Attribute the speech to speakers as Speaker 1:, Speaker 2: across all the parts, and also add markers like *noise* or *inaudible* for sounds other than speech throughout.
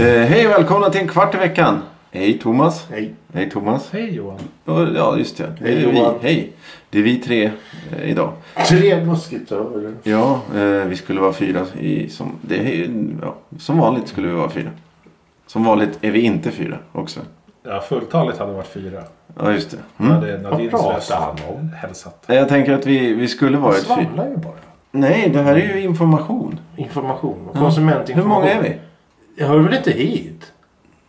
Speaker 1: Eh, hej och välkomna till en kvart i veckan. Hej Thomas.
Speaker 2: Hej.
Speaker 1: Hej Thomas.
Speaker 3: Hej Johan.
Speaker 1: Ja, Ja, just det.
Speaker 2: Hej,
Speaker 1: det är
Speaker 2: Johan.
Speaker 1: vi. Hej. Det är vi tre eh, idag.
Speaker 2: Tre musketörer.
Speaker 1: Ja, eh, vi skulle vara fyra. I, som, det är, ju- ja, som vanligt skulle vi vara fyra. Som vanligt är vi inte fyra också.
Speaker 3: Ja, fulltaligt hade varit fyra.
Speaker 1: Ja, just det.
Speaker 3: Då
Speaker 1: Mm.
Speaker 3: hade
Speaker 2: Vad
Speaker 3: Nadines röst
Speaker 2: pratar han om?
Speaker 3: hälsat.
Speaker 1: Eh, Jag tänker att vi, vi skulle
Speaker 2: Han
Speaker 1: varit fyra.
Speaker 2: svamlar ju bara.
Speaker 1: Nej, det här är ju information.
Speaker 2: Information. och
Speaker 1: Hur
Speaker 2: Konsumentinformation.
Speaker 1: många är vi?
Speaker 2: Jag hör väl inte hit?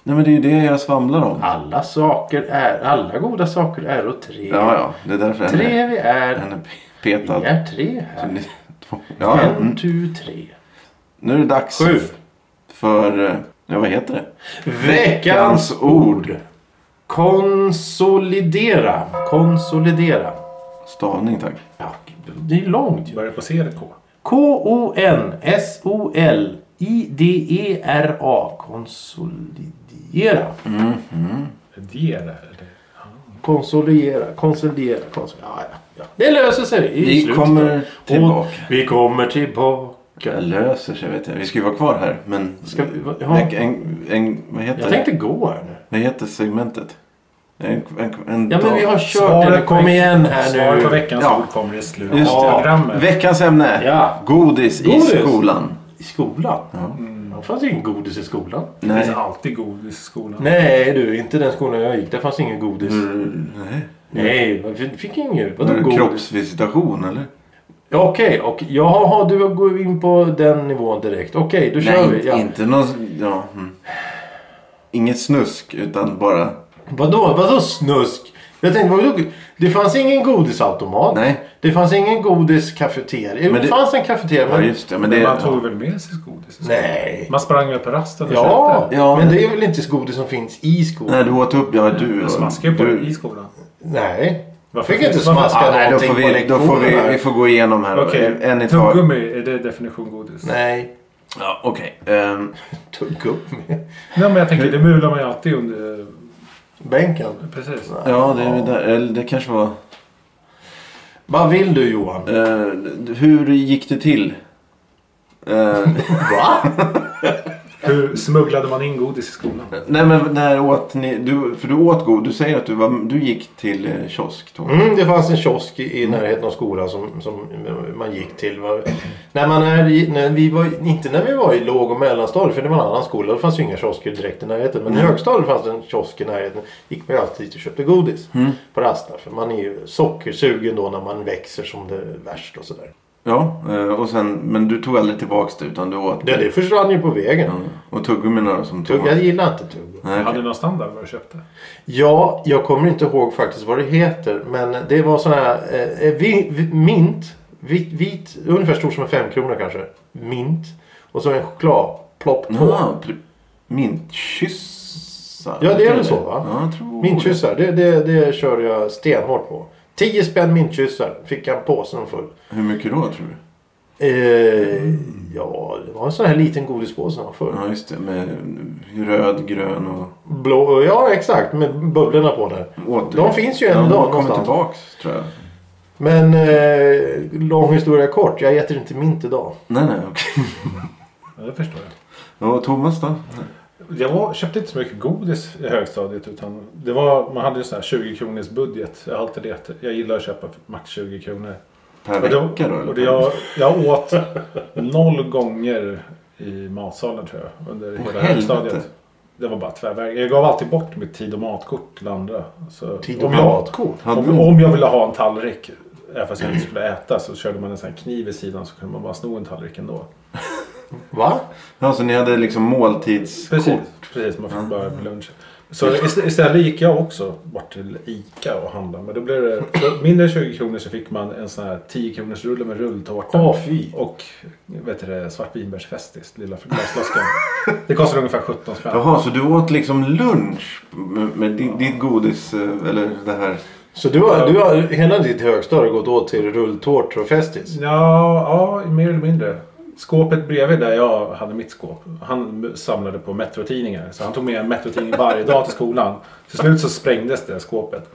Speaker 1: Nej, men det är ju det jag svamlar om.
Speaker 2: Alla saker är... Alla goda saker är och tre.
Speaker 1: Ja, ja. Det är därför han är,
Speaker 2: Tre vi är.
Speaker 1: han är
Speaker 2: Vi
Speaker 1: petad.
Speaker 2: är tre här.
Speaker 1: Två- Ja, ja.
Speaker 2: En,
Speaker 1: Mm.
Speaker 2: tu, tre.
Speaker 1: Nu är det dags
Speaker 2: Sju.
Speaker 1: för... eh, Ja, vad heter det?
Speaker 2: Veckans ord. Konsolidera. Konsolidera.
Speaker 1: Stavning, tack.
Speaker 2: Ja, det är långt ju.
Speaker 3: Börjar på CDK.
Speaker 2: K-O-N-S-O-L-I-D-E-R-A. E Konsolidera.
Speaker 3: Det är det.
Speaker 2: Konsolidera, konsolidera, konsolidera. Ja, ja, ja. Det löser sig. i
Speaker 1: Vi
Speaker 2: slutet.
Speaker 1: kommer tillbaka.
Speaker 2: Och vi kommer tillbaka.
Speaker 1: Det löser sig, vet jag. Vi ska ju vara kvar här, men...
Speaker 2: Ska vi- va- ja.
Speaker 1: Veck- en, en, vad heter
Speaker 2: Jag
Speaker 1: det?
Speaker 2: tänkte gå här nu.
Speaker 1: Vad heter segmentet? En, en, en
Speaker 2: Ja, men
Speaker 1: dag.
Speaker 2: vi har kört det. Kom igen här
Speaker 3: Svaret på
Speaker 2: nu.
Speaker 3: veckans
Speaker 1: Ja.
Speaker 3: ord kommer i slutet
Speaker 1: Just
Speaker 3: av
Speaker 1: det.
Speaker 3: programmet.
Speaker 1: Veckans ämne.
Speaker 2: Ja.
Speaker 1: Godis,
Speaker 2: Godis.
Speaker 1: i skolan.
Speaker 2: I skolan? Mm. Det fanns ingen godis i skolan.
Speaker 3: Det
Speaker 1: Nej.
Speaker 3: finns alltid godis i skolan.
Speaker 2: Nej du, inte den skolan jag gick. Där fanns ingen godis. Mm.
Speaker 1: Mm, Nej.
Speaker 2: Nej, vi fick inget. Vadå
Speaker 1: Var det
Speaker 2: godis?
Speaker 1: kroppsvisitation eller?
Speaker 2: Ja, Okej, och jaha, du går in på den nivån direkt. Okej, då kör
Speaker 1: Nej,
Speaker 2: vi.
Speaker 1: inte,
Speaker 2: Ja.
Speaker 1: inte någon... Ja. Mm. Inget snusk utan bara...
Speaker 2: Vadå, vadå snusk? Jag tänkte, vadå, det fanns ingen godisautomat.
Speaker 1: Nej.
Speaker 2: Det fanns ingen godiskafeteria. Jo,
Speaker 1: Men det-
Speaker 2: det, fanns en kafeteria.
Speaker 1: Ja
Speaker 2: Men...
Speaker 1: just det. Men
Speaker 3: Men
Speaker 1: det...
Speaker 3: man tog väl med sig godis? i skolan?
Speaker 2: Nej.
Speaker 3: Man sprang väl på rasten och
Speaker 2: Ja,
Speaker 3: köpte.
Speaker 1: Ja,
Speaker 2: men
Speaker 1: men-
Speaker 2: det är väl inte godis som finns i skolan? Nej.
Speaker 1: Nej du åt upp. Ja du.
Speaker 3: Man smaskade ju på det
Speaker 1: du...
Speaker 3: i skolan.
Speaker 2: Jag
Speaker 3: Varför
Speaker 2: fick inte
Speaker 3: finns- varför-
Speaker 2: smaska
Speaker 1: Ah, nej, då
Speaker 2: någonting
Speaker 1: får,
Speaker 2: på
Speaker 1: vi, då
Speaker 2: lektionerna.
Speaker 1: får vi, vi får gå igenom här.
Speaker 3: Okej,
Speaker 1: En i taget.
Speaker 3: tuggummi, är det definition godis?
Speaker 2: Nej,
Speaker 1: Ja, Okej. Ehm,
Speaker 2: tuggummi.
Speaker 3: Nej, men jag tänker det mular man ju alltid under...
Speaker 2: Bänken.
Speaker 3: Precis.
Speaker 1: Ja det är väl där. Eller det kanske var...
Speaker 2: Vad vill du Johan?
Speaker 1: Eh, hur gick det till? Eh,
Speaker 2: Va?
Speaker 3: Hur smugglade man in godis i skolan?
Speaker 1: *laughs* nej men när åt ni? Du, för du åt god. Du säger att du, var, du gick till eh, kiosk Tom.
Speaker 2: Mm, det fanns en kiosk i i närheten av skolan som, som man gick till. Va? När man är, i- när vi var, inte när vi var i låg och mellanstadiet för det var en annan skola. Då fanns ju inga kiosker direkt i närheten. Men i högstadiet fanns det en kiosk i närheten. gick man ju alltid dit och köpte godis på rasterna. För man är ju sockersugen då när man växer som det är värst och sådär.
Speaker 1: Ja, eh, och sen, men du tog aldrig tillbaks det utan du åt.
Speaker 2: Det, det försvann ju på vägen.
Speaker 1: Mm. Och tuggummina då som
Speaker 2: Tugg,
Speaker 1: tog.
Speaker 2: jag gillar inte tugg.
Speaker 1: Nej,
Speaker 3: Hade
Speaker 1: okej.
Speaker 3: du någon standard vad du köpte?
Speaker 2: Ja, jag kommer inte ihåg faktiskt vad det heter. Men det var sån här eh, vi, vi, mint. Vit, vit, ungefär stor som en femkrona kanske. Mint. Och så en chokladplopp på.
Speaker 1: Jaha, pl- Mintkyssar?
Speaker 2: Ja, det är
Speaker 1: Heter
Speaker 2: väl så, va?
Speaker 1: Ja, jag tror
Speaker 2: Mintkyssar, det, det, det körde jag stenhårt på. 10 spänn mintkyssar fick jag en påse full.
Speaker 1: det. Hur mycket då tror du?
Speaker 2: Eh, ja, det var en sån här liten godispåse som var full.
Speaker 1: Ja, just det. Med röd, grön och...
Speaker 2: Blå, ja, exakt. Med bubblorna på där.
Speaker 1: Åter...
Speaker 2: De finns ju än
Speaker 1: Ja,
Speaker 2: idag
Speaker 1: de har kommit
Speaker 2: någonstans.
Speaker 1: tillbaks tror jag.
Speaker 2: Men eh, lång historia kort. Jag äter inte mint idag.
Speaker 1: Nej, nej, okej.
Speaker 3: Ja, det förstår jag.
Speaker 1: Och Thomas då?
Speaker 3: Jag var, köpte inte så mycket godis i högstadiet. Utan det var, man hade ju sån här 20 kronors budget. Jag, har alltid det. jag gillar att köpa för max 20 kronor.
Speaker 1: Per
Speaker 3: Och då-
Speaker 1: vecka då? eller?
Speaker 3: och det jag, jag åt noll gånger i matsalen tror jag. Under hela
Speaker 1: helvete.
Speaker 3: högstadiet. Det var bara tvärväg. Jag gav alltid bort mitt tid och matkort till andra. Så
Speaker 2: Tid och
Speaker 3: om jag-
Speaker 2: matkort?
Speaker 1: Hade
Speaker 3: Om,
Speaker 1: du-
Speaker 3: om jag ville ha en tallrik, även fast jag inte skulle äta, så körde man en sån här kniv i sidan så kunde man bara sno en tallrik ändå.
Speaker 2: Va?
Speaker 1: Ja, så ni hade liksom måltidskort?
Speaker 3: Precis, precis man fick bara lunch. Så ist- istället gick jag också bort till ICA och handlade. Men då blev det för mindre än 20 kronor så fick man en sån här 10 kronors rulle med rulltårta.
Speaker 2: Åh, fy.
Speaker 3: Och vet du det, svartvinbärsfestis, lilla glasflaskan. Det kostade ungefär 17 spänn.
Speaker 1: Jaha, så du åt liksom lunch med, med di- ditt godis eh, eller det här?
Speaker 2: Så du har, du har hela ditt högstadie gått åt till rulltårtor och festis?
Speaker 3: Ja, ja, mer eller mindre. Skåpet bredvid där jag hade mitt skåp. Han samlade på Metro-tidningar. Så han tog med en Metro-tidning varje dag till skolan. Till slut så sprängdes det skåpet.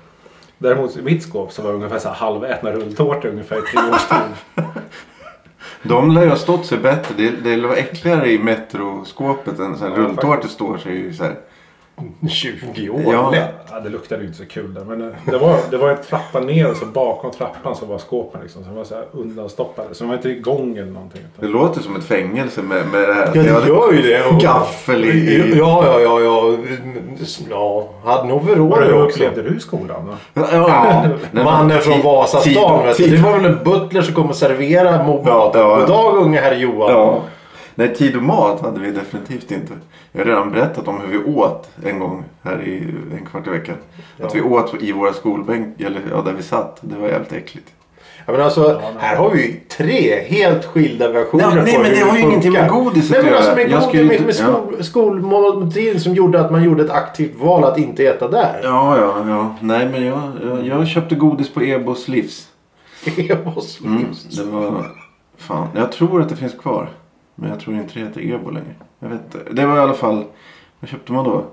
Speaker 3: Däremot i mitt skåp så var det ungefär så här halvätna rulltårtor ungefär i tre års tid.
Speaker 1: De lär ju ha stått sig bättre. Det, det lär vara äckligare i metroskåpet än så här
Speaker 3: Ja,
Speaker 1: rulltårtor
Speaker 3: faktiskt.
Speaker 1: står sig ju så här.
Speaker 2: 20 år
Speaker 1: Ja.
Speaker 2: lätt.
Speaker 3: Ja, det luktade ju inte så kul där. Men eh, det var, det var en trappa ner och så bakom trappan så var skåpen liksom. Så de var så här undanstoppade. Så de var inte igång eller någonting.
Speaker 1: Det låter som ett fängelse med, med det här.
Speaker 2: Ja,
Speaker 1: Ni
Speaker 2: det
Speaker 1: hade
Speaker 2: gör ju det. Och-
Speaker 1: Gaffel i... i-
Speaker 2: Ja, ja, ja. ja. ja. Hade nog
Speaker 3: Och hur
Speaker 2: overaller också.
Speaker 3: upplevde du skolan? Då?
Speaker 1: Ja, ja.
Speaker 2: *laughs*
Speaker 1: Nej,
Speaker 2: Mannen
Speaker 1: men-
Speaker 2: från
Speaker 1: tid-
Speaker 2: Vasastan.
Speaker 1: tid-
Speaker 2: vet du.
Speaker 1: tid-
Speaker 2: Det var väl en butler som kom och serverade mobbat.
Speaker 1: Ja, ja, ja.
Speaker 2: God dag unge herr Johan.
Speaker 1: Ja. Nej, tid och mat hade vi definitivt inte. Jag har redan berättat om hur vi åt en gång här i en kvart i veckan. Att vi åt i våra skolbänk, eller ja, där vi satt. Det var jävligt äckligt.
Speaker 2: Ja, men alltså, här har vi ju tre helt skilda versioner
Speaker 1: Nej, nej,
Speaker 2: på
Speaker 1: men
Speaker 2: hur
Speaker 1: det har ju
Speaker 2: funkar.
Speaker 1: ingenting med godis att
Speaker 2: Nej, men
Speaker 1: göra.
Speaker 2: alltså
Speaker 1: Jag
Speaker 2: med, godis,
Speaker 1: skulle
Speaker 2: med,
Speaker 1: inte-
Speaker 2: med skol, skolmåltiden som gjorde att man gjorde ett aktivt val att inte äta där.
Speaker 1: Ja, ja, ja. Nej, men jag, jag, jag köpte godis på Ebos livs.
Speaker 2: *laughs* Det var så
Speaker 1: Mm,
Speaker 2: hemskt.
Speaker 1: det var... Fan, jag tror att det finns kvar. Men jag tror inte det heter Ebo längre. Jag vet inte. Det var i alla fall... Vad köpte man då?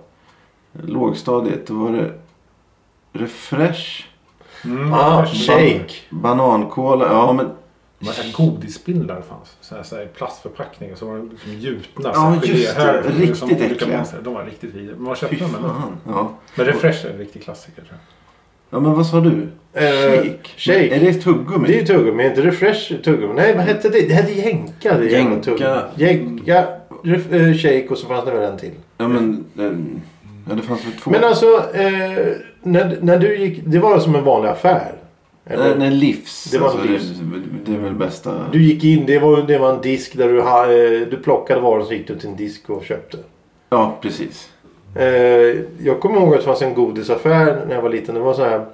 Speaker 1: Lågstadiet. Då var det... Refresh.
Speaker 3: Mm,
Speaker 2: Ah,
Speaker 3: först-
Speaker 2: shake.
Speaker 1: Banankola. Ja, men
Speaker 3: Det var så här godisspindlar fanns. Så här, så här plastförpackningar. Så var de liksom gjutna. så
Speaker 1: Ja,
Speaker 3: här
Speaker 1: just det.
Speaker 3: geléhögar,
Speaker 1: Riktigt
Speaker 3: olika
Speaker 1: äckliga.
Speaker 3: monster. De var riktigt vidriga. Men man
Speaker 1: fy
Speaker 3: köpte dem ändå.
Speaker 1: fan. Ja.
Speaker 3: Men Refresh är en riktig klassiker tror jag.
Speaker 1: ja, men vad sa du?
Speaker 2: Eh, shake.
Speaker 1: Är det tuggummi?
Speaker 2: Det är ju tuggummi, inte refresh tuggummi. Nej, vad hette det? Det hette jänka. Det jävla
Speaker 1: Jänka.
Speaker 2: tuggummi. Jänka, ref, eh, shake och så fanns det väl en till.
Speaker 1: Ja, men... eh, Ja, det fanns väl två?
Speaker 2: Men alltså, eh, när, när du gick... Det var som en vanlig affär. Eller?
Speaker 1: Eh, Nej, nej, livs.
Speaker 2: Det var
Speaker 1: alltså,
Speaker 2: livs.
Speaker 1: Det, det är väl bästa...
Speaker 2: Du gick in, det var, det var en disk där du, ha, eh, du plockade varor så gick du till en disk och köpte.
Speaker 1: Ja, precis.
Speaker 2: Eh, jag kommer ihåg att det fanns en godisaffär när jag var liten. Det var så här.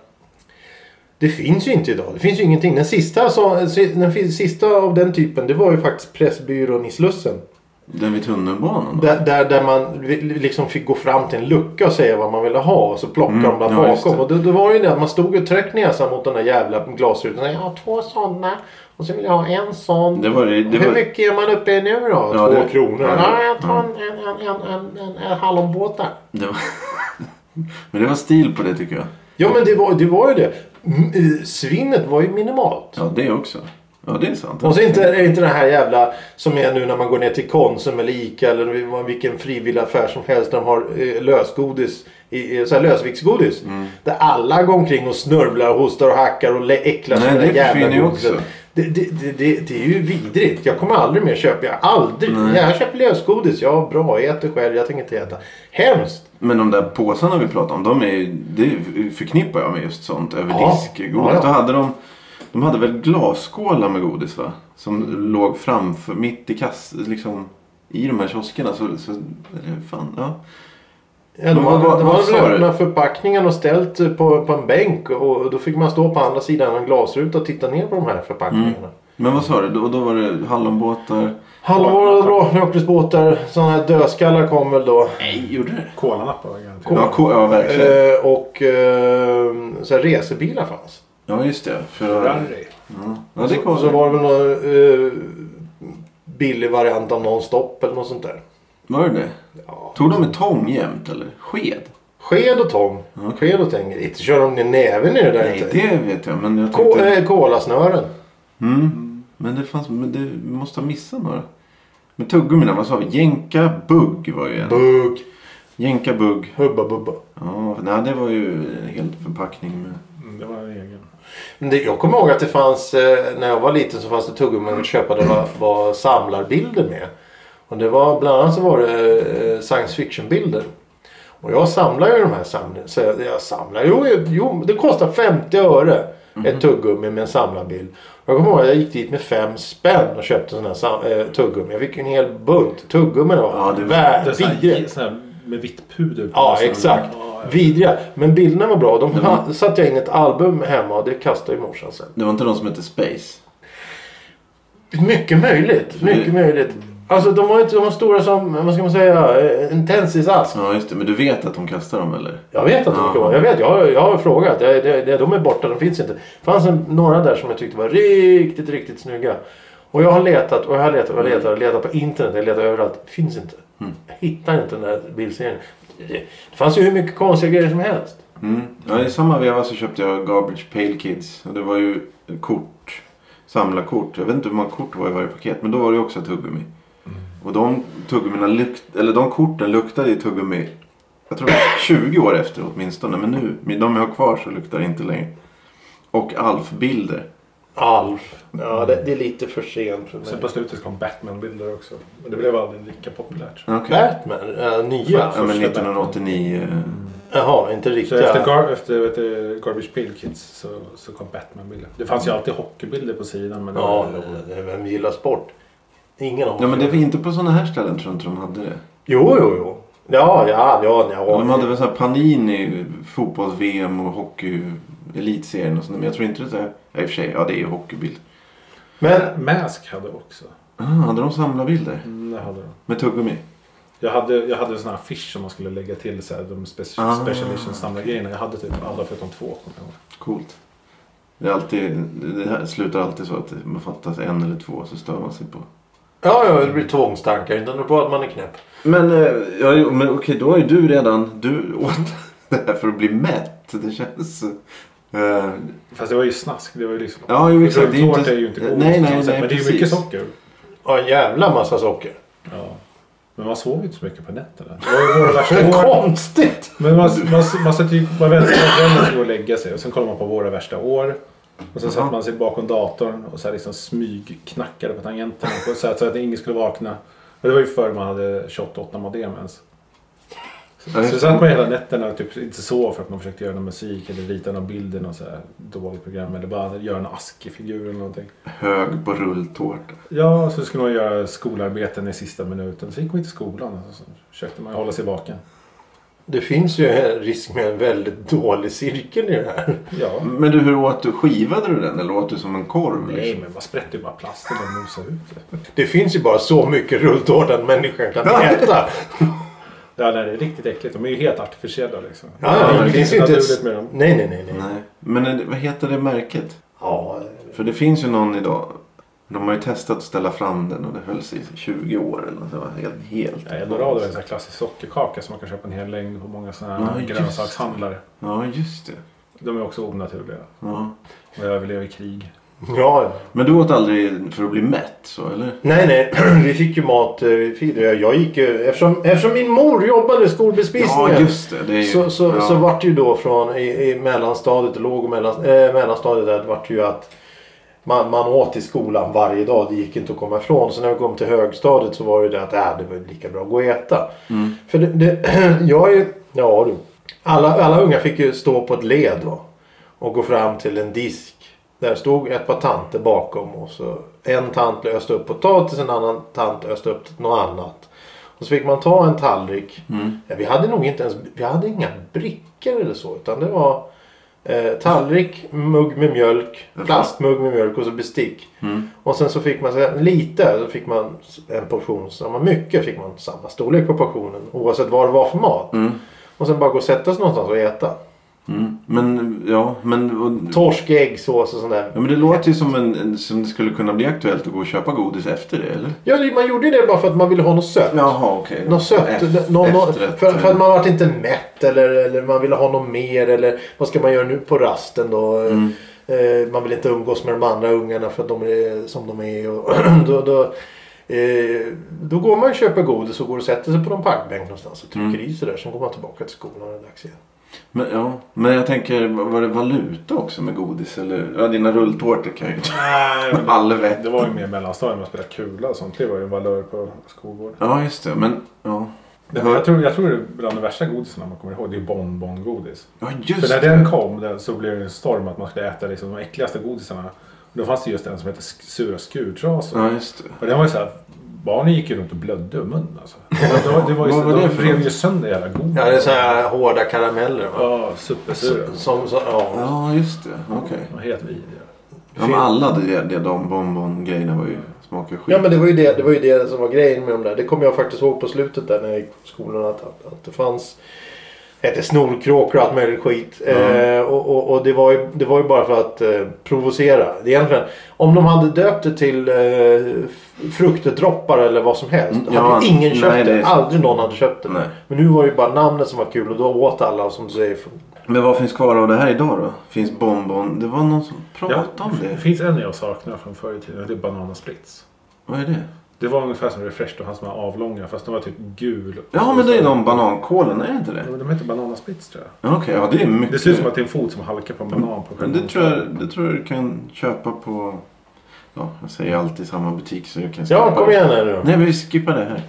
Speaker 2: Det finns ju inte idag. Det finns ju ingenting. Den sista, så, si- den fi- sista av den typen det var ju faktiskt Pressbyrån i Slussen.
Speaker 1: Den vid tunnelbanan. då?
Speaker 2: Där, där, där man li- liksom fick gå fram till en lucka och säga vad man ville ha och så plockade
Speaker 1: Mm,
Speaker 2: de där
Speaker 1: ja, just
Speaker 2: bakom.
Speaker 1: det.
Speaker 2: Och då, då var det ju det att man stod och tryckte näsan mot den där jävla glasrutan. Jag har två sådana och så vill jag ha en sån.
Speaker 1: Det var det. det
Speaker 2: Hur
Speaker 1: var...
Speaker 2: mycket är man uppe i nu då?
Speaker 1: Ja,
Speaker 2: Två
Speaker 1: det- Mm.
Speaker 2: kronor?
Speaker 1: ja,
Speaker 2: Ja, jag tar
Speaker 1: ja.
Speaker 2: en, en, en, en, en, en, en hallonbåt där.
Speaker 1: Det var... *laughs* Men det var stil på det tycker jag.
Speaker 2: Ja men det var, det var ju det. Mm, eh, Svinnet var ju minimalt.
Speaker 1: Ja, det också. Ja, det är sant.
Speaker 2: Och så inte, är inte det här jävla som är nu när man går ner till Konsum eller Ica eller vilken frivillig affär som helst. där De har eh, lösgodis. i- i- Så här lösviktsgodis.
Speaker 1: Mm.
Speaker 2: Där alla går omkring och snörvlar, hostar och hackar och lä- äcklar sig
Speaker 1: Nej,
Speaker 2: med
Speaker 1: det
Speaker 2: där jävla
Speaker 1: försvinner ju
Speaker 2: godiset.
Speaker 1: också.
Speaker 2: Det, det, det, det, det är ju vidrigt. Jag kommer aldrig mer köpa. Jag aldrig. Jag köper lösgodis. Ja, bra. Jag äter själv. Jag tänker inte äta. Hemskt.
Speaker 1: Men de där påsarna vi pratade om, de är, ju- det förknippar jag med just sånt.
Speaker 2: Ja.
Speaker 1: Överdiskgodis.
Speaker 2: Ja, ja.
Speaker 1: Då hade de, de hade väl glasskålar med godis va? Som låg framför, mitt i kass, liksom i de här kioskerna. Så, så eller fan, ja.
Speaker 2: Ja, de
Speaker 1: Vad-
Speaker 2: hade,
Speaker 1: vad-
Speaker 2: de
Speaker 1: vad
Speaker 2: hade
Speaker 1: sa
Speaker 2: väl
Speaker 1: du?
Speaker 2: öppnat förpackningen och ställt på, på en bänk och då fick man stå på andra sidan av en glasruta och titta ner på de här förpackningarna.
Speaker 1: Men vad sa du? Då, då var det hallonbåtar.
Speaker 2: Hallonvara, blåknockelsbåtar, sådana här dödskallar kom väl då.
Speaker 1: Nej, gjorde det?
Speaker 3: Kolanappar var garanterat.
Speaker 1: Ja, ko- ja, verkligen.
Speaker 2: Eh, och eh, så här resebilar fanns.
Speaker 1: Ja, just det. För,
Speaker 3: Ferrari.
Speaker 1: ja, det
Speaker 2: Och så
Speaker 1: kom.
Speaker 2: var det väl någon eh, billig variant av Nonstop eller något sånt där.
Speaker 1: Var det det?
Speaker 2: Ja.
Speaker 1: Tog de med tång jämt eller? Sked?
Speaker 2: Sked och tång. Sked och tång. Inte kör de ner näven i det där
Speaker 1: Nej,
Speaker 2: inte.
Speaker 1: det vet jag. Men jag
Speaker 2: Ko-
Speaker 1: tänkte...
Speaker 2: eh, kolasnören.
Speaker 1: Mm. Men det fanns... Men det vi måste ha missat några. Men tuggummina, vad sa vi? Jänka bugg var ju en.
Speaker 2: Bugg.
Speaker 1: Jänka bugg.
Speaker 2: Hubba bubba.
Speaker 1: Ja, nej, det var ju en hel förpackning med...
Speaker 3: Mm, det var en egen.
Speaker 2: Men Det, jag kommer ihåg att det fanns, eh, när jag var liten så fanns det tuggummi man kunde köpa där var, var samlarbilder med. Och det var, bland annat så var det eh, science fiction-bilder. Och jag samlar ju de här samlingarna. Så jag, jag samlar, jo, jo, jo, det kostar 50 öre
Speaker 3: Mhm.
Speaker 2: ett tuggummi med en samlarbild. Och Jag kommer ihåg att jag gick dit med fem spänn och köpte sådana här sam, eh, tuggummi. Jag fick ju en hel bunt tuggummi då.
Speaker 1: Ja, det var-
Speaker 3: Det är
Speaker 2: Värd,
Speaker 3: sån här-
Speaker 2: vidrigt.
Speaker 3: sån här med vitt puder på.
Speaker 2: Ja,
Speaker 3: näsan.
Speaker 2: exakt.
Speaker 3: Ja, Mm. ja.
Speaker 2: Vidriga. Men bilderna var bra. De ha, *laughs* satte jag in i ett album hemma och det kastade ju morsan sen.
Speaker 1: Det var inte de som hette Space?
Speaker 2: Mycket möjligt. Mycket
Speaker 1: Det-
Speaker 2: möjligt. Alltså de var, inte, de var stora som, vad ska man säga, eh, en tensisask.
Speaker 1: Ja, just det. Men du vet att de kastar dem eller?
Speaker 2: Jag vet att de kan vara. Jag vet, jag har, jag har frågat. Jag, det, det, de är borta, de finns inte. Det fanns en, några där som jag tyckte var riktigt, riktigt snygga. Och jag har letat och jag har letat och jag har letat och letat på internet. Jag letar överallt. Finns inte. Hittar inte den där bildserien. Det det fanns ju hur mycket konstiga grejer som helst.
Speaker 1: Mm. Ja, I samma veva så köpte jag Garbage Pail Kids. Och det var ju kort. Samlarkort. Jag vet inte hur många kort det var i varje paket. Men då var det ju också tuggummi. Och de, tuggummina lukt, eller de korten luktade ju tuggummi. Jag tror det var 20 år efter åtminstone. Men nu, med de jag har kvar så luktar det inte längre. Och Alf-bilder.
Speaker 2: Alf. Ja, det, det är lite för sent för
Speaker 3: Sen
Speaker 2: mig.
Speaker 3: på slutet kom Batman-bilder också. Men det blev aldrig lika populärt.
Speaker 1: Okej.
Speaker 2: Batman? Äh, nya?
Speaker 1: Ja, men
Speaker 3: första
Speaker 1: 1989. eh,
Speaker 2: Jaha, inte
Speaker 3: Mm. Så
Speaker 2: riktiga.
Speaker 3: efter, gar, efter vet du, Garbage Pail Kids så, så kom Batman-bilder. Det fanns ju alltid hockeybilder på sidan. Men det
Speaker 2: Ja,
Speaker 3: var-
Speaker 2: det- vem gillar sport? Ingen av
Speaker 1: Ja, men det var inte på sådana här ställen tror jag inte de hade det.
Speaker 2: Jo, jo, jo. Ja, ja, ja. ja.
Speaker 1: De hade väl så här Panini, fotbolls-VM och hockey, elitserien och sånt. Men jag tror inte det är... Ja, i och för sig, ja det är ju hockeybild.
Speaker 2: Men
Speaker 3: Mask hade också.
Speaker 1: Ah, hade de samlarbilder?
Speaker 3: Mm, det hade de.
Speaker 1: Med tuggummi?
Speaker 3: Jag hade, jag hade såna här affisch som man skulle lägga till så här, de speci-
Speaker 1: Ah.
Speaker 3: special edition samlargrejerna. Jag hade typ alla förutom två kommer jag ihåg.
Speaker 1: Coolt. Det, är alltid, det här slutar alltid så att man fattas en eller två så stör man sig på.
Speaker 2: ja, ja, det blir tvångstankar. Inte nog på att man är knäpp.
Speaker 1: Men, eh, ja, jo, men okej, då är du redan... Du åt *laughs* det här för att bli mätt. Det känns... eh,
Speaker 3: Fast det var ju snack. Det var ju liksom...
Speaker 1: ja, jo, exakt.
Speaker 3: det är, inte, är ju inte godis.
Speaker 1: eh, nej,
Speaker 3: på
Speaker 1: nej,
Speaker 3: något sätt,
Speaker 1: nej,
Speaker 3: Men det är ju
Speaker 1: precis.
Speaker 3: mycket socker.
Speaker 2: Ja, en jävla massa socker.
Speaker 3: Ja. Men man sov ju inte så mycket på nätterna. Det var ju
Speaker 1: *laughs*
Speaker 3: våra värsta år.
Speaker 2: Konstigt!
Speaker 3: Men man, man, man, satt ju, man väntade på att drömmen skulle gå och lägga sig. Och sen kollade man på våra värsta år. Och sen
Speaker 1: Jaha.
Speaker 3: satt man sig bakom datorn och så här liksom smygknackade på tangenterna. på Så, här, så att ingen skulle vakna. Och det var ju förr man hade 28 modem ens.
Speaker 1: Ja,
Speaker 3: Så
Speaker 1: just
Speaker 3: satt man
Speaker 1: det.
Speaker 3: hela nätterna och typ inte sov för att man försökte göra någon musik eller rita någon bild i något så här dåligt program. Eller bara göra en askig figur eller någonting.
Speaker 1: Hög på rulltårta.
Speaker 3: Ja, så skulle man göra skolarbeten i sista minuten. Så gick man inte till skolan. och Så försökte man hålla sig vaken.
Speaker 2: Det finns ju en risk med en väldigt dålig cirkel i det här.
Speaker 3: Ja.
Speaker 1: Men du, hur åt du? Skivade du den eller åt du som en korv?
Speaker 3: Nej,
Speaker 1: liksom?
Speaker 3: men man sprätter ju bara plast och bara mosar ut det.
Speaker 2: Det finns ju bara så mycket rulltårta att människan kan äta.
Speaker 3: Ja, nej, det är riktigt äckligt. De är ju helt artificiella liksom.
Speaker 2: Ja,
Speaker 3: det
Speaker 2: det finns ju
Speaker 3: inte
Speaker 2: inte
Speaker 3: naturligt
Speaker 2: ens...
Speaker 3: med dem.
Speaker 2: Nej, nej, nej. nej.
Speaker 1: Nej. Men är det- vad heter det märket?
Speaker 2: Ja,
Speaker 1: För det finns ju någon idag. De har ju testat att ställa fram den och det höll sig i 20 år eller något. Det var helt... helt
Speaker 3: Ja, Eldorado är en sån här klassisk sockerkaka som man kan köpa en hel längd på många såna
Speaker 1: Ja,
Speaker 3: här
Speaker 1: just det.
Speaker 3: grönsakshandlare.
Speaker 1: Ja, just det.
Speaker 3: De är också onaturliga.
Speaker 1: Ja.
Speaker 3: Och överlever krig.
Speaker 2: ja. ja.
Speaker 1: Men du åt aldrig för att bli mätt så eller?
Speaker 2: Nej, nej. *clears throat* Vi fick ju mat. eh, Vi fick, jag jag gick ju, eftersom, eftersom min mor jobbade i skolbespisningen.
Speaker 1: Ja, just det. det är ju,
Speaker 2: Så, så,
Speaker 1: ja.
Speaker 2: så vart det ju då från i, i mellanstadiet, låg och mellan, eh, mellanstadiet där vart det ju att man, man åt i skolan varje dag. Det gick inte att komma ifrån. Så när vi kom till högstadiet så var det ju det att äh, det var ju lika bra att gå och äta.
Speaker 1: Mm.
Speaker 2: För det, *clears throat* det, jag är ju, ja du. Alla, alla unga fick ju stå på ett led då. Och gå fram till en disk. Där stod ett par tanter bakom och så en tant öste upp potatis, en annan tant öste upp något annat. Och så fick man ta en tallrik. Ja, vi hade nog inte ens, vi hade inga brickor eller så utan det var eh, tallrik, mugg med mjölk, plastmugg med mjölk och så bestick. Och sen så fick man så här lite, så fick man en portion, samma mycket fick man samma storlek på portionen oavsett vad det var för mat. Och sen bara gå och sätta sig någonstans och äta.
Speaker 1: Mm. Men ja, men... Och,
Speaker 2: Torsk, äggsås och sånt där.
Speaker 1: ja, men det låter ju som, en, en, som det skulle kunna bli aktuellt att gå och köpa godis efter det eller?
Speaker 2: Ja, det- man gjorde ju det bara för att man ville ha något sött.
Speaker 1: Jaha, okej.
Speaker 2: Något sött.
Speaker 1: Eft-
Speaker 2: nå- nå-
Speaker 1: efterrätt,
Speaker 2: för, för
Speaker 1: eh.
Speaker 2: att man vart inte mätt eller, eller man ville ha något mer. Eller vad ska man göra nu på rasten då? Eh, man vill inte umgås med de andra ungarna för att de är som de är. Och *clears throat* då, då, eh, då går man och köper godis och går och sätter sig på någon parkbänk någonstans och trycker i sig där. Sen går man tillbaka till skolan och det är dags igen.
Speaker 1: Men, ja. men jag tänker, var det valuta också med godis? Eller? Ja, dina rulltårtor kan ju inte...
Speaker 3: Nej, men
Speaker 1: Halvet.
Speaker 3: det var ju mer mellanstadiet. Man spelade kula och sånt. Det var ju en valör på skolgården.
Speaker 1: Ja, just det. Men ja.
Speaker 3: Nej, men Jag tror, jag tror det är bland de värsta godisarna man kommer ihåg. Det är bonbongodis.
Speaker 1: Ja,
Speaker 3: För
Speaker 1: just
Speaker 3: när
Speaker 1: det.
Speaker 3: den kom den, så blev det en storm att man skulle äta liksom, de äckligaste godisarna. Och då fanns det just en som hette sk- sura skurtrasor.
Speaker 1: Ja, just det.
Speaker 3: Och den var ju såhär, barnen gick ju runt och blödde ur munnen alltså. Det var, det var ju,
Speaker 1: Vad var det
Speaker 3: de
Speaker 1: för
Speaker 3: rev
Speaker 1: något?
Speaker 3: ju sönder hela godis.
Speaker 2: Ja, det är så här hårda karameller. Va?
Speaker 3: Ja, supersura.
Speaker 2: Som, så, ja.
Speaker 1: Ja, just det. Okej.
Speaker 3: De var Helt vidriga.
Speaker 1: Ja, men alla de, de, de bonbon-grejerna var ju, smakade skit.
Speaker 2: Ja men det var, ju det, det var ju det som var grejen med de där. Det kommer jag faktiskt ihåg på slutet där när jag gick på skolan att, att, att det fanns hette snorkråkor och allt möjligt skit. Eh, och och, och det, var ju, det var ju bara för att eh, provocera. Det är Egentligen, om de hade döpt det till eh, f- fruktdroppar eller vad som helst.
Speaker 1: Mm, ja,
Speaker 2: hade ju ingen
Speaker 1: nej,
Speaker 2: köpt
Speaker 1: det är
Speaker 2: det.
Speaker 1: sant. Mm.
Speaker 2: Aldrig någon hade köpt det.
Speaker 1: Nej.
Speaker 2: Men nu var det ju bara namnet som var kul och då åt alla och som du säger.
Speaker 1: Men vad finns kvar av det här idag då? Finns Bonbon? Det var någon som pratade om
Speaker 3: det
Speaker 1: det.
Speaker 3: finns en jag saknar från förr i tiden. och Det är Banana Splits.
Speaker 1: Vad är det?
Speaker 3: Det var ungefär som Refresh. De hade såna här avlånga fast de var typ gul.
Speaker 1: Ja men det är de banankålen, är det inte
Speaker 3: Ja,
Speaker 1: det?
Speaker 3: men De heter Banana Splits tror jag.
Speaker 1: Ja, Okej, ja det är mycket.
Speaker 3: Mm. Det ser ut som att det är en fot som halkar på en banan. På
Speaker 1: Men det tror jag, det tror jag du kan köpa på... Ja, jag säger alltid samma butik så jag kan skippa
Speaker 2: Ja, kom
Speaker 1: det.
Speaker 2: igen här nu.
Speaker 1: Nej, men vi skippar det här.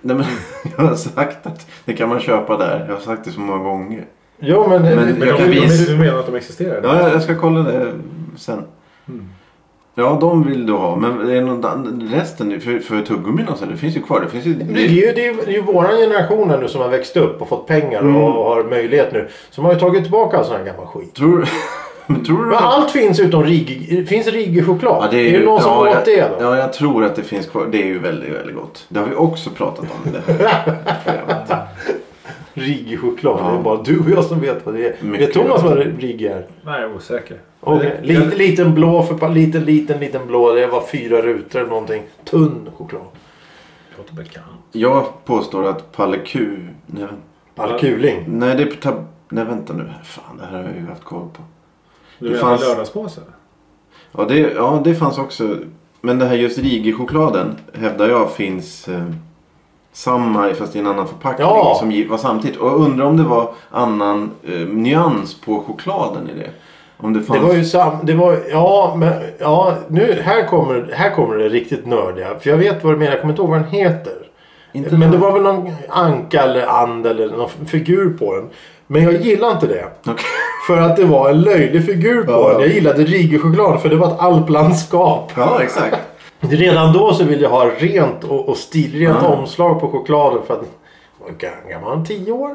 Speaker 1: Nej, men *laughs* jag har sagt att det kan man köpa där. Jag har sagt det så många gånger.
Speaker 2: Jo, men,
Speaker 1: Men
Speaker 3: Men
Speaker 1: Jag
Speaker 3: de,
Speaker 1: kan
Speaker 3: de,
Speaker 1: visa-
Speaker 3: du menar att de existerar?
Speaker 1: Ja, jag- jag ska kolla det sen.
Speaker 3: Mm.
Speaker 1: Ja, de vill du ha. Men det är någon, annan- resten, för, för tuggummin och så, det finns ju kvar. Det finns ju...
Speaker 2: Det är, ju, det, är ju, det är ju våran generation här nu som har växt upp och fått pengar och,
Speaker 1: Mm.
Speaker 2: och har möjlighet nu. Som har ju tagit tillbaka all sån här gammal skit.
Speaker 1: Tror, *laughs* men tror du...
Speaker 2: Men allt finns utom Rigge. Finns Rigge-choklad?
Speaker 1: Mm. Ja,
Speaker 2: det är, det någon som
Speaker 1: ja,
Speaker 2: åt
Speaker 1: jag,
Speaker 2: det då?
Speaker 1: Ja, jag tror att det finns kvar. Det är ju väldigt, väldigt gott. Det har vi också pratat om. i Det här.
Speaker 2: *laughs*
Speaker 1: programmet.
Speaker 2: Rigge-choklad.
Speaker 1: Ja.
Speaker 2: Det är bara du och jag som vet vad det är.
Speaker 1: Mycket
Speaker 2: vet Thomas vad Rigge är?
Speaker 3: Nej, jag är osäker.
Speaker 2: Okay.
Speaker 3: Jag-
Speaker 2: Liten, liten blå förpa- Liten, liten, liten blå. Det var fyra rutor eller någonting. Tunn choklad.
Speaker 3: Det låter bekant.
Speaker 1: jag påstår att Palle Q... Nej, vänta.
Speaker 2: Palkuling.
Speaker 1: Nej, det är på tab... Nej, vänta nu. här. Fan, det här har jag ju haft koll på.
Speaker 3: Du
Speaker 1: Det
Speaker 3: menar
Speaker 1: fanns-
Speaker 3: lördagspåse?
Speaker 1: Ja, det, ja, det fanns också. Men det här just Rigi-chokladen hävdar jag finns eh, samma fast i en annan förpackning
Speaker 2: Ja.
Speaker 1: som gi- var samtidigt. Och jag undrar om det var annan eh, nyans på chokladen i det. Om det
Speaker 2: Det
Speaker 1: fanns...
Speaker 2: var ju sam... Det var... Ja, men... Ja, nu... Här kommer, här kommer det riktigt nördiga. För jag vet vad du menar. Jag kommer inte ihåg vad den heter.
Speaker 1: inte
Speaker 2: Men det var väl någon anka eller and eller någon figur på den. Men jag gillar inte det.
Speaker 1: Okej. *laughs*
Speaker 2: För att det var en löjlig figur på
Speaker 1: Ja.
Speaker 2: den. Jag gillade Rigge-choklad för det var ett alplandskap.
Speaker 1: Ja, exakt.
Speaker 2: Redan då så ville jag ha rent och, och stilrent
Speaker 1: Ja.
Speaker 2: omslag på chokladen. För att, vad gam- gammal? Tio år?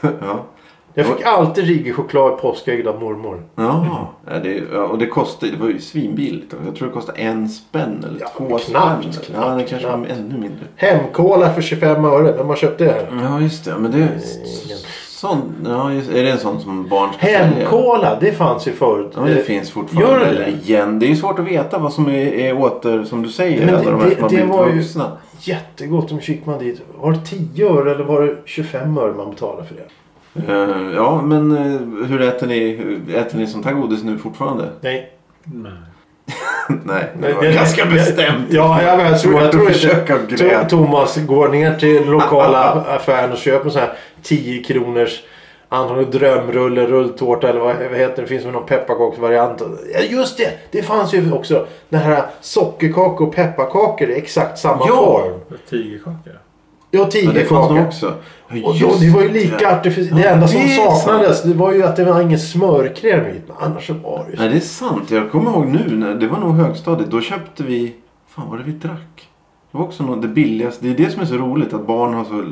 Speaker 1: ja.
Speaker 2: Jag fick alltid Rigge-choklad i påskägg av mormor.
Speaker 1: Ja, ja, det, ja, och det kostade, det var ju svinbilligt. Jag tror det kostade en spänn eller
Speaker 2: Ja,
Speaker 1: två
Speaker 2: knappt,
Speaker 1: spänn.
Speaker 2: knappt,
Speaker 1: ja, det kanske var
Speaker 2: knappt.
Speaker 1: ännu mindre.
Speaker 2: Hemkola för 25 öre. Vem har köpt det? här?
Speaker 1: Ja, just det. Men det är
Speaker 2: Ingen.
Speaker 1: sån, ja, just, Är det en sån som barn ska sälja?
Speaker 2: Hemkola, det fanns ju förut.
Speaker 1: Ja, men det
Speaker 2: Eh,
Speaker 1: finns fortfarande.
Speaker 2: gör det?
Speaker 1: Eller igen. Det är ju svårt att veta vad som är, är åter, som du säger,
Speaker 2: Men det-
Speaker 1: alla de här
Speaker 2: det-
Speaker 1: som har
Speaker 2: det
Speaker 1: blivit
Speaker 2: var ju-
Speaker 1: vuxna.
Speaker 2: Jättegott om gick man dit. Var det 10 öre eller var det 25 öre man betalade för det?
Speaker 1: Eh, ja, men eh, hur äter ni, hur- äter ni sånt här godis nu fortfarande? *laughs*
Speaker 2: Nej.
Speaker 3: Nej.
Speaker 1: Nej, det
Speaker 2: Nej,
Speaker 1: var
Speaker 2: det-
Speaker 1: ganska
Speaker 2: det-
Speaker 1: bestämt.
Speaker 2: Ja, jag, jag, tror,
Speaker 1: Svårt
Speaker 2: jag
Speaker 1: att
Speaker 2: tror inte
Speaker 1: försöka Ah, gräva.
Speaker 2: To- Thomas går ner till den lokala affären och köper en sån här 10 kronors antagligen drömrulle, rulltårta eller vad, vad heter det? Det finns väl någon pepparkaksvariant. Ja, just det! Det fanns ju också den här sockerkakor och pepparkakor i exakt samma
Speaker 1: Ja.
Speaker 2: form.
Speaker 3: Tigerkaka?
Speaker 2: Ja,
Speaker 1: Men det fanns nog
Speaker 2: tigerkakor.
Speaker 1: också. Ja,
Speaker 2: Och då,
Speaker 1: just
Speaker 2: det var ju lika artificiellt. Det
Speaker 1: Ja,
Speaker 2: enda
Speaker 1: det
Speaker 2: som
Speaker 1: är
Speaker 2: saknades det var ju att det var ingen smörkräm i. Men Annars så var det ju...
Speaker 1: Nej, det är sant. Jag kommer ihåg nu, när, det var nog högstadiet. Då köpte vi... Fan, vad det vi drack? Det var också något, det billigaste. Det är det som är så roligt, att barn har så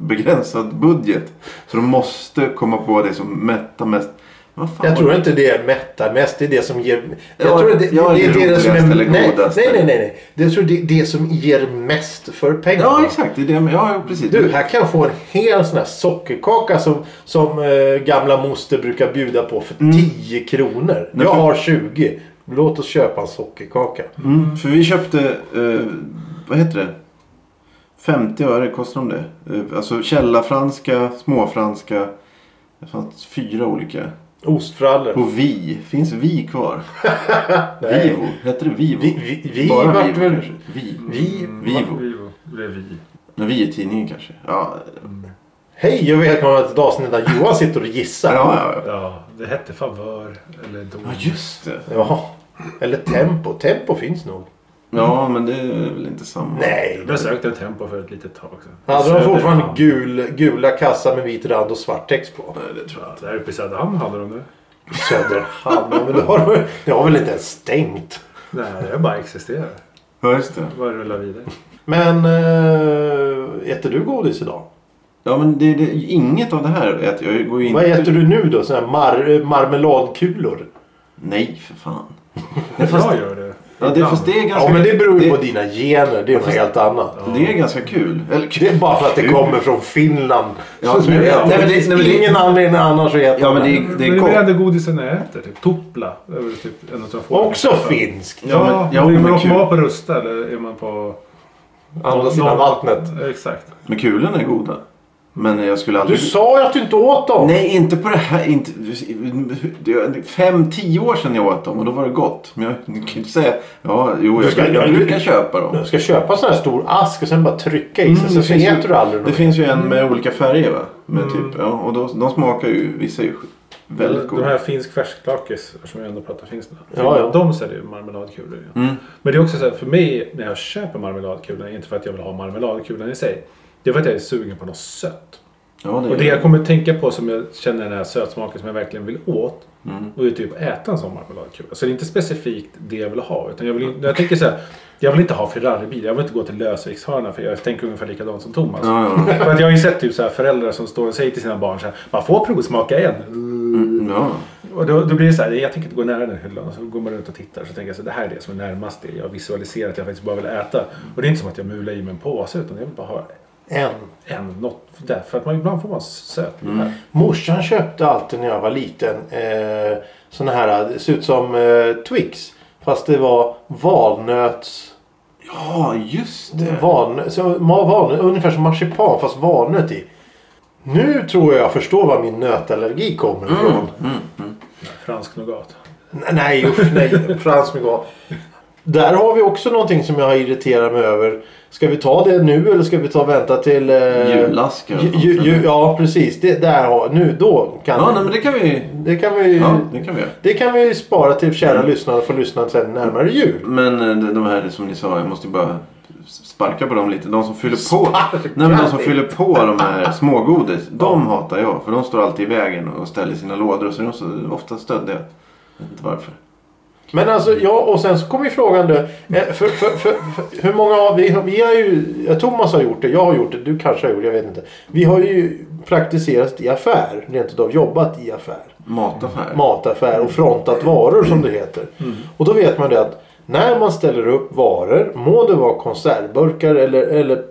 Speaker 1: begränsad budget. Så de måste komma på det som mättar mest. Vad fan
Speaker 2: Jag
Speaker 1: var
Speaker 2: tror inte det mättar mest. Det är det som ger... Jag
Speaker 1: Ja,
Speaker 2: tror det, det,
Speaker 1: ja,
Speaker 2: det,
Speaker 1: det
Speaker 2: är det,
Speaker 1: roligaste
Speaker 2: som är...
Speaker 1: eller
Speaker 2: Nej, nej,
Speaker 1: godaste.
Speaker 2: nej, nej, nej. Jag tror det är det som ger mest för pengarna.
Speaker 1: Ja, exakt. Det är det jag menar. Ja, ja, precis.
Speaker 2: Du, här kan jag få en hel sån här sockerkaka som, som eh, gamla moster brukar bjuda på för 10 kronor.
Speaker 1: Nej,
Speaker 2: jag
Speaker 1: Mm. för-
Speaker 2: har 20. Låt oss köpa en sockerkaka.
Speaker 1: Mm, för vi köpte, eh, vad heter det? 50 öre kostar de det. Eh, alltså källarfranska, småfranska. Det fanns fyra olika.
Speaker 2: Ostfrallor.
Speaker 1: Och vi. Finns vi kvar?
Speaker 2: Nej.
Speaker 1: Vivo. Heter det Vivo?
Speaker 2: Vi, vi, vi
Speaker 1: Bara
Speaker 2: vart
Speaker 1: Vivo
Speaker 2: väl...
Speaker 1: kanske. Vi.
Speaker 2: Vi...
Speaker 1: Vivo.
Speaker 3: Mm, Vivo. Det är vi.
Speaker 1: Ja, vi är tidningen kanske. Ja,
Speaker 2: Hej och välkomna till ett avsnitt där Johan sitter och gissar.
Speaker 1: ja, ja. ja.
Speaker 3: Ja, det hette favör eller dom.
Speaker 1: ja just det.
Speaker 2: Jaha. Eller Tempo. Tempo finns nog.
Speaker 1: Ja, men det är väl inte samma.
Speaker 2: Mm. Nej.
Speaker 3: Jag sökte en tempo för ett litet tag sedan.
Speaker 2: Hade de
Speaker 3: Söderhamn.
Speaker 2: fortfarande gul, gula kassar med vit rand och svart text på?
Speaker 1: Nej, det tror jag
Speaker 3: Ja, där uppe i Söderhamn hade de det.
Speaker 2: Söderhamn. *laughs* Men det har, de- det har väl inte ens stängt?
Speaker 3: Nej, jag bara existerar.
Speaker 1: Ja, just det.
Speaker 3: Bara rullar vidare.
Speaker 2: Men äh, äter du godis idag?
Speaker 1: Ja, men det, det, inget av det här äter jag. jag. går ju
Speaker 2: Vad
Speaker 1: inte...
Speaker 2: äter du nu då? Såna här mar, marmeladkulor?
Speaker 1: Nej, för fan.
Speaker 3: Jag gör det.
Speaker 1: Ja, det,
Speaker 3: Ibland.
Speaker 1: fast det är ganska...
Speaker 2: Ja, men det beror ju
Speaker 1: det,
Speaker 2: på dina gener. Det är något helt annat.
Speaker 1: det är ganska kul. Eller kul.
Speaker 2: Det är bara för att det kommer från Finland.
Speaker 1: Ja,
Speaker 2: Så- *laughs*
Speaker 1: nej,
Speaker 2: det
Speaker 1: men det-
Speaker 2: finns
Speaker 1: nej, men det-
Speaker 2: ingen anledning annars att äta
Speaker 1: Ja, men
Speaker 2: den.
Speaker 1: det, det
Speaker 3: Men
Speaker 1: är
Speaker 3: det är
Speaker 1: gott.
Speaker 3: det godisen jag äter. Typ Topla. Det är väl typ en utav få.
Speaker 2: Också finskt.
Speaker 1: Ja, men-
Speaker 3: Ja,
Speaker 1: ja,
Speaker 3: men,
Speaker 1: men
Speaker 3: men åker
Speaker 1: kul.
Speaker 3: man på Rusta eller är man på...
Speaker 2: Andra sidan
Speaker 3: Norr-
Speaker 2: vattnet.
Speaker 3: Exakt.
Speaker 1: Men kulorna är goda. Men jag skulle
Speaker 2: Du
Speaker 1: aldrig...
Speaker 2: sa ju att du inte åt dem!
Speaker 1: Nej, inte på det här. Inte, det är fem, tio år sedan jag åt dem och då var det gott. Men jag kan ju inte säga... Ja, jo,
Speaker 2: Du
Speaker 1: jag,
Speaker 2: ska-
Speaker 1: jag, jag
Speaker 2: du-
Speaker 1: brukar köpa dem.
Speaker 2: Du ska köpa en sån här stor ask och sen bara trycka i sig
Speaker 1: Mm,
Speaker 2: så, så
Speaker 1: ju-
Speaker 2: äter du aldrig
Speaker 1: det
Speaker 2: något.
Speaker 1: finns ju en med olika färger va? Med
Speaker 2: Mm.
Speaker 1: typ, ja, och då, de smakar ju, vissa är ju väldigt
Speaker 3: De
Speaker 1: goda.
Speaker 3: här finsk färsklakis, som jag ändå pratar finska.
Speaker 2: Ja, ja.
Speaker 3: De säljer ju marmeladkulor. ju.
Speaker 1: Mm.
Speaker 3: Men det är också så här, för mig när jag köper marmeladkulor, inte för att jag vill ha marmeladkulan i sig. Det är för att jag är sugen på något sött.
Speaker 1: Ja, det
Speaker 3: Och
Speaker 1: är
Speaker 3: det jag kommer att tänka på som jag känner den här sötsmaken som jag verkligen vill åt.
Speaker 1: Mm.
Speaker 3: Och det är typ äta en sån marmeladkula. Så det är inte specifikt det jag vill ha. Utan jag, vill, jag tänker så här, jag vill inte ha Ferraribil. Jag vill inte gå till lösviktshörna för jag tänker ungefär likadant som Thomas.
Speaker 1: Ja, ja.
Speaker 3: För att jag har ju sett typ så här föräldrar som står och säger till sina barn så här, man får provsmaka en.
Speaker 1: Mm, ja.
Speaker 3: Och då, då blir det så här, jag tänker inte gå nära den hyllan. Och Så går man runt och tittar så tänker jag så här, det här är det som är närmast det jag visualiserar att jag faktiskt bara vill äta. Och det är inte som att jag mular i mig en påse utan jag vill bara ha
Speaker 2: En.
Speaker 3: en, något där. För att man ibland får man söt. Mm.
Speaker 2: Morsan köpte alltid när jag var liten eh, såna här, det ser ut som eh, Twix. Fast det var valnöts...
Speaker 1: ja, just det.
Speaker 2: Valnö, så, ma, valnö, ungefär som marsipan fast valnöt i. Nu tror jag jag förstår var min nötallergi kommer
Speaker 1: Mm.
Speaker 2: ifrån.
Speaker 3: Fransk nougat.
Speaker 2: Nej, Nej, usch, nej. Frans Miguel. Där har vi också någonting som jag har irriterat mig över. Ska vi ta det nu eller ska vi ta och vänta till... Eh,
Speaker 1: Julask eller
Speaker 2: ju,
Speaker 1: något,
Speaker 2: ju, ju,
Speaker 1: eller?
Speaker 2: Ja, precis. Det, där har, nu då kan
Speaker 1: Ja, nej, men det kan vi...
Speaker 2: det kan vi
Speaker 1: Ja, Mm. det kan vi göra.
Speaker 2: Det kan vi spara till kära lyssnare och få lyssna sen närmare jul.
Speaker 1: Men eh, de- de här som ni sa, jag måste ju bara sparka på dem lite. De som fyller på,
Speaker 2: Sparka
Speaker 1: nej, men de som
Speaker 2: dig.
Speaker 1: fyller på de
Speaker 3: *laughs*
Speaker 1: här smågodis, de hatar jag. För de står alltid i vägen och ställer sina lådor. Och så är de så ofta stöddiga. Jag vet inte varför.
Speaker 2: Men alltså, ja, och sen så kommer ju frågan då. eh, För, för, för, för, hur många av vi, vi har ju... ja, Thomas har gjort det, jag har gjort det, du kanske har gjort det, jag vet inte. Vi har ju praktiserat i affär, rent utav jobbat i affär.
Speaker 1: Mataffär.
Speaker 2: mataffär och frontat varor som det heter.
Speaker 1: Mm.
Speaker 2: Och då vet man det att när man ställer upp varor, må det vara konservburkar eller, eller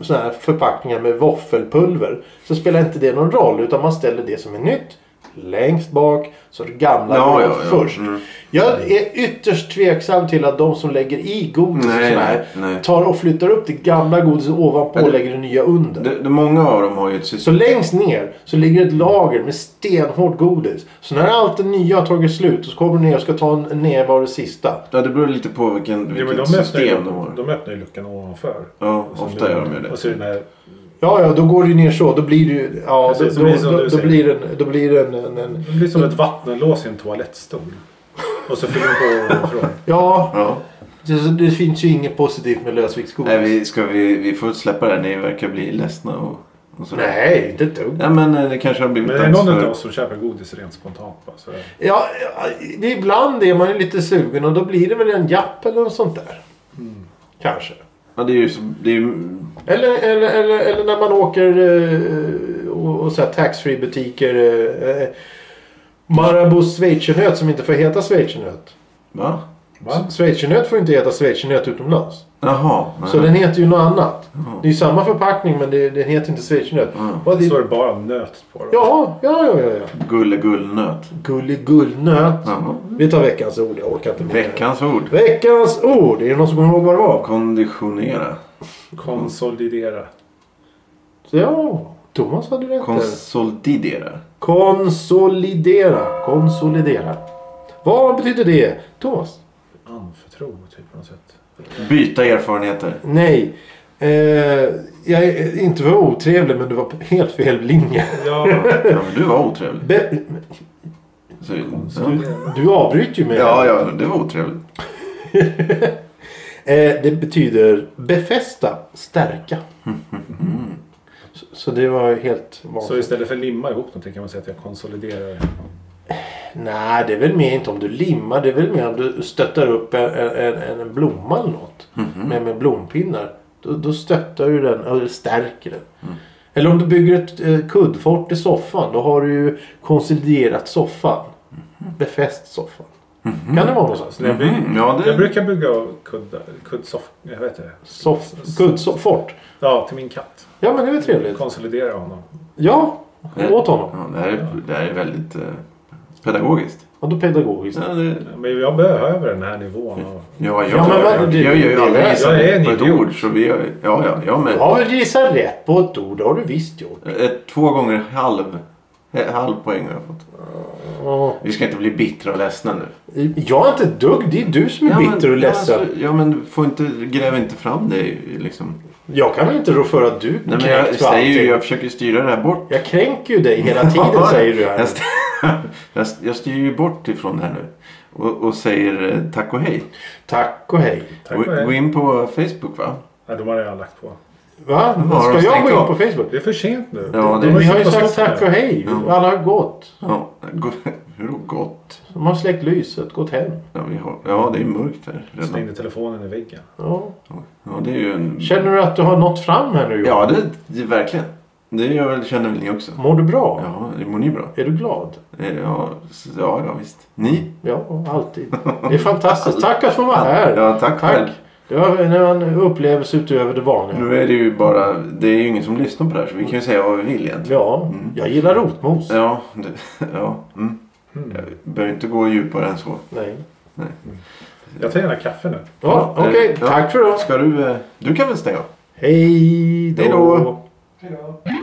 Speaker 2: såna här förpackningar med våffelpulver, så spelar inte det någon roll utan man ställer det som är nytt längst bak så det gamla
Speaker 1: Ja,
Speaker 2: går
Speaker 1: ja, ja.
Speaker 2: först.
Speaker 1: Mm.
Speaker 2: Jag är ytterst tveksam till att de som lägger i godis och
Speaker 1: Nej,
Speaker 2: såna här
Speaker 1: nej, nej.
Speaker 2: tar och flyttar upp det gamla godiset ovanpå och lägger det nya under.
Speaker 1: Det, det, många av dem har ju ett
Speaker 2: Så
Speaker 1: system.
Speaker 2: längst ner så ligger ett lager med stenhårt godis. Så när allt det nya har tagit slut så kommer du ner och ska ta en näve av det sista.
Speaker 1: Ja, det beror lite på vilken,
Speaker 3: Ja,
Speaker 1: vilket
Speaker 3: men de, öppnar ju,
Speaker 1: system de har.
Speaker 3: de öppnar ju luckan ovanför.
Speaker 1: Ja,
Speaker 3: Och så
Speaker 1: ofta
Speaker 3: blir-
Speaker 1: gör de ju det.
Speaker 3: Och så är den här
Speaker 2: Ja, ja, då går det ju ner så. Då blir det ju... Ja,
Speaker 3: Precis,
Speaker 2: då,
Speaker 3: det
Speaker 2: då,
Speaker 3: blir som
Speaker 2: då,
Speaker 3: du
Speaker 2: då,
Speaker 3: säger.
Speaker 2: blir det en... Då blir det en, en, en
Speaker 3: Det blir som ett vattenlås i en toalettstol. Och så fyller man på ovanifrån.
Speaker 1: *laughs*
Speaker 2: ja,
Speaker 1: Ja.
Speaker 2: det, det finns ju inget positivt med lösviktsgodis.
Speaker 1: Nej, vi, ska vi, vi får släppa det här. Ni verkar bli ledsna och, och sådär.
Speaker 2: Nej, inte ett dugg.
Speaker 1: Ja, men eh, det kanske har
Speaker 3: Men
Speaker 1: blivit
Speaker 3: det är någon
Speaker 1: för-
Speaker 3: av oss som köper godis rent spontant. bara, Så.
Speaker 2: Ja, ja, det- ibland är man ju lite sugen och då blir det väl en japp eller något sånt där.
Speaker 3: Mm.
Speaker 2: Kanske.
Speaker 1: Ja, det är ju så, det är ju...
Speaker 2: Eller, eller, eller, eller när man åker eh, och, och så här taxfree butiker. Eh, Marabou schweizernöt som inte får heta schweizernöt.
Speaker 1: Va?
Speaker 3: Va?
Speaker 2: Schweizernöt får inte heta schweizernöt utomlands.
Speaker 1: Jaha.
Speaker 2: Så
Speaker 1: nej.
Speaker 2: den heter ju något annat.
Speaker 1: Jaha.
Speaker 2: Det är ju samma förpackning men det, den heter inte schweizernöt.
Speaker 1: Mm.
Speaker 2: Och
Speaker 3: Det
Speaker 2: det,
Speaker 3: står det bara nöt på dem.
Speaker 2: ja, ja, ja, ja. ja.
Speaker 1: Gullegullnöt.
Speaker 2: Gulligullnöt.
Speaker 1: Jaha.
Speaker 2: Vi tar veckans ord. Jag orkar inte mer.
Speaker 1: Veckans ord.
Speaker 2: Veckans ord. Är det någon som kommer ihåg vad det var?
Speaker 1: Konditionera.
Speaker 3: Konsolidera.
Speaker 2: Så ja, Thomas hade rätt. där.
Speaker 1: Konsolidera.
Speaker 2: Konsolidera. Konsolidera. Vad betyder det? Thomas?
Speaker 3: Anförtro typ på något sätt.
Speaker 1: Byta erfarenheter.
Speaker 2: Nej. Eh, jag är inte för otrevlig men du var på helt fel linje.
Speaker 3: Ja,
Speaker 1: Ja, men du var otrevlig.
Speaker 2: Be-
Speaker 1: Så, ja.
Speaker 3: konsolidera.
Speaker 2: du avbryter ju mig.
Speaker 1: ja, ja, det var otrevligt.
Speaker 2: Eh, det betyder befästa, stärka.
Speaker 1: Mm.
Speaker 2: Så, så det var ju helt
Speaker 3: Så
Speaker 2: vanligt.
Speaker 3: istället för limma ihop någonting kan man säga att jag konsoliderar.
Speaker 2: Nej, det är väl mer inte om du limmar. Det är väl mer om du stöttar upp en, en, en, en blomma eller något. Med, med blompinnar. Då, då stöttar du den, eller stärker den.
Speaker 1: Mm.
Speaker 2: Eller om du bygger ett eh, kuddfort i soffan. Då har du ju konsoliderat soffan. Befäst soffan. Kan det vara någonstans?
Speaker 3: Mm.
Speaker 1: Mhm, Ja,
Speaker 3: Jag
Speaker 1: det...
Speaker 3: brukar bygga kuddar, kuddsoff... Jag vet inte.
Speaker 2: Soft, good, so, fort.
Speaker 3: Ja, till min katt.
Speaker 2: Ja men det är väl trevligt.
Speaker 3: Konsolidera honom.
Speaker 2: Ja, åt honom.
Speaker 1: Ja, det, här är, det här är väldigt eh, pedagogiskt.
Speaker 2: Ja, då pedagogiskt.
Speaker 1: Ja, det,
Speaker 3: Men jag behöver den här nivån. av-
Speaker 1: ja, jag,
Speaker 2: Ja, men vad-
Speaker 1: jag,
Speaker 2: det-
Speaker 1: jag gör ju
Speaker 2: det-
Speaker 1: aldrig
Speaker 2: jag
Speaker 1: gissat
Speaker 3: är en
Speaker 1: på ett
Speaker 3: idiot.
Speaker 1: ord. Så vi, gör- ja, ja, jag
Speaker 2: Du
Speaker 1: med.
Speaker 2: har väl gissat rätt på ett ord, det har du visst gjort.
Speaker 1: Eh, Två gånger halv, eh, halv poäng har jag fått.
Speaker 2: Ja.
Speaker 1: Vi ska inte bli bittra och ledsna nu.
Speaker 2: Jag är inte ett dugg, det är du som är bitter och ledsen.
Speaker 1: Ja, alltså, ja men få inte, gräv inte fram det liksom.
Speaker 2: Jag kan väl inte rå för att du
Speaker 1: Nej, men
Speaker 2: kränks
Speaker 1: jag,
Speaker 2: för
Speaker 1: säger ju,
Speaker 2: allting.
Speaker 1: jag försöker styra det här bort.
Speaker 2: Jag kränker ju dig
Speaker 1: *laughs*
Speaker 2: hela tiden säger du här.
Speaker 1: Jag, st- jag, st- jag styr ju bort ifrån det här nu. Och, och säger eh, tack och hej.
Speaker 2: Tack och hej.
Speaker 3: Tack
Speaker 1: Gå-
Speaker 3: och hej.
Speaker 1: Gå
Speaker 2: Mm.
Speaker 1: in på Facebook va?
Speaker 3: Nej, de har jag lagt på.
Speaker 2: Va?
Speaker 1: har
Speaker 2: Ska
Speaker 1: de
Speaker 2: jag
Speaker 1: stängt
Speaker 2: gå in
Speaker 1: av?
Speaker 2: på Facebook?
Speaker 3: Det är för sent nu.
Speaker 1: Ja, det-
Speaker 3: de
Speaker 2: Vi har ju
Speaker 3: satt och
Speaker 2: sagt
Speaker 3: stått
Speaker 2: tack
Speaker 3: här.
Speaker 2: och hej.
Speaker 1: Ja.
Speaker 2: Alla har gått.
Speaker 1: Ja, gå, *laughs* hur har det gått?
Speaker 2: De har släckt lyset, gått hem.
Speaker 1: Ja, vi har, ja, det är mörkt här redan.
Speaker 3: Slängde telefonen i väggen.
Speaker 2: Ja.
Speaker 1: Ja, det är ju en...
Speaker 2: Känner du att du har nått fram här nu? Johan?
Speaker 1: Ja, det, det verkligen. Det gör väl, känner väl ni också?
Speaker 2: Mår du bra?
Speaker 1: Ja, det mår ni bra?
Speaker 2: Är du glad?
Speaker 1: Eh, Ja, s- ja, ja visst. Ni?
Speaker 2: Ja,
Speaker 1: *laughs*
Speaker 2: alltid. Det är fantastiskt. Tack att få vara här.
Speaker 1: Ja, tack själv.
Speaker 2: Tack. Det var en en upplevelse utöver det vanliga.
Speaker 1: Nu är det ju bara... Det är ju ingen som lyssnar på det här så vi kan ju säga vad vi vill egentligen.
Speaker 2: Ja, jag gillar rotmos.
Speaker 1: Mm. Ja, det, ja. Mm. Jag behöver inte gå djupare än så.
Speaker 2: Nej.
Speaker 3: Jag tar gärna kaffe nu.
Speaker 2: Ja, okej.
Speaker 1: Eh, ja.
Speaker 2: Tack för det.
Speaker 1: Ska du... eh, Du kan väl stänga av?
Speaker 2: Hej då.
Speaker 1: Hej då.
Speaker 3: Hejdå.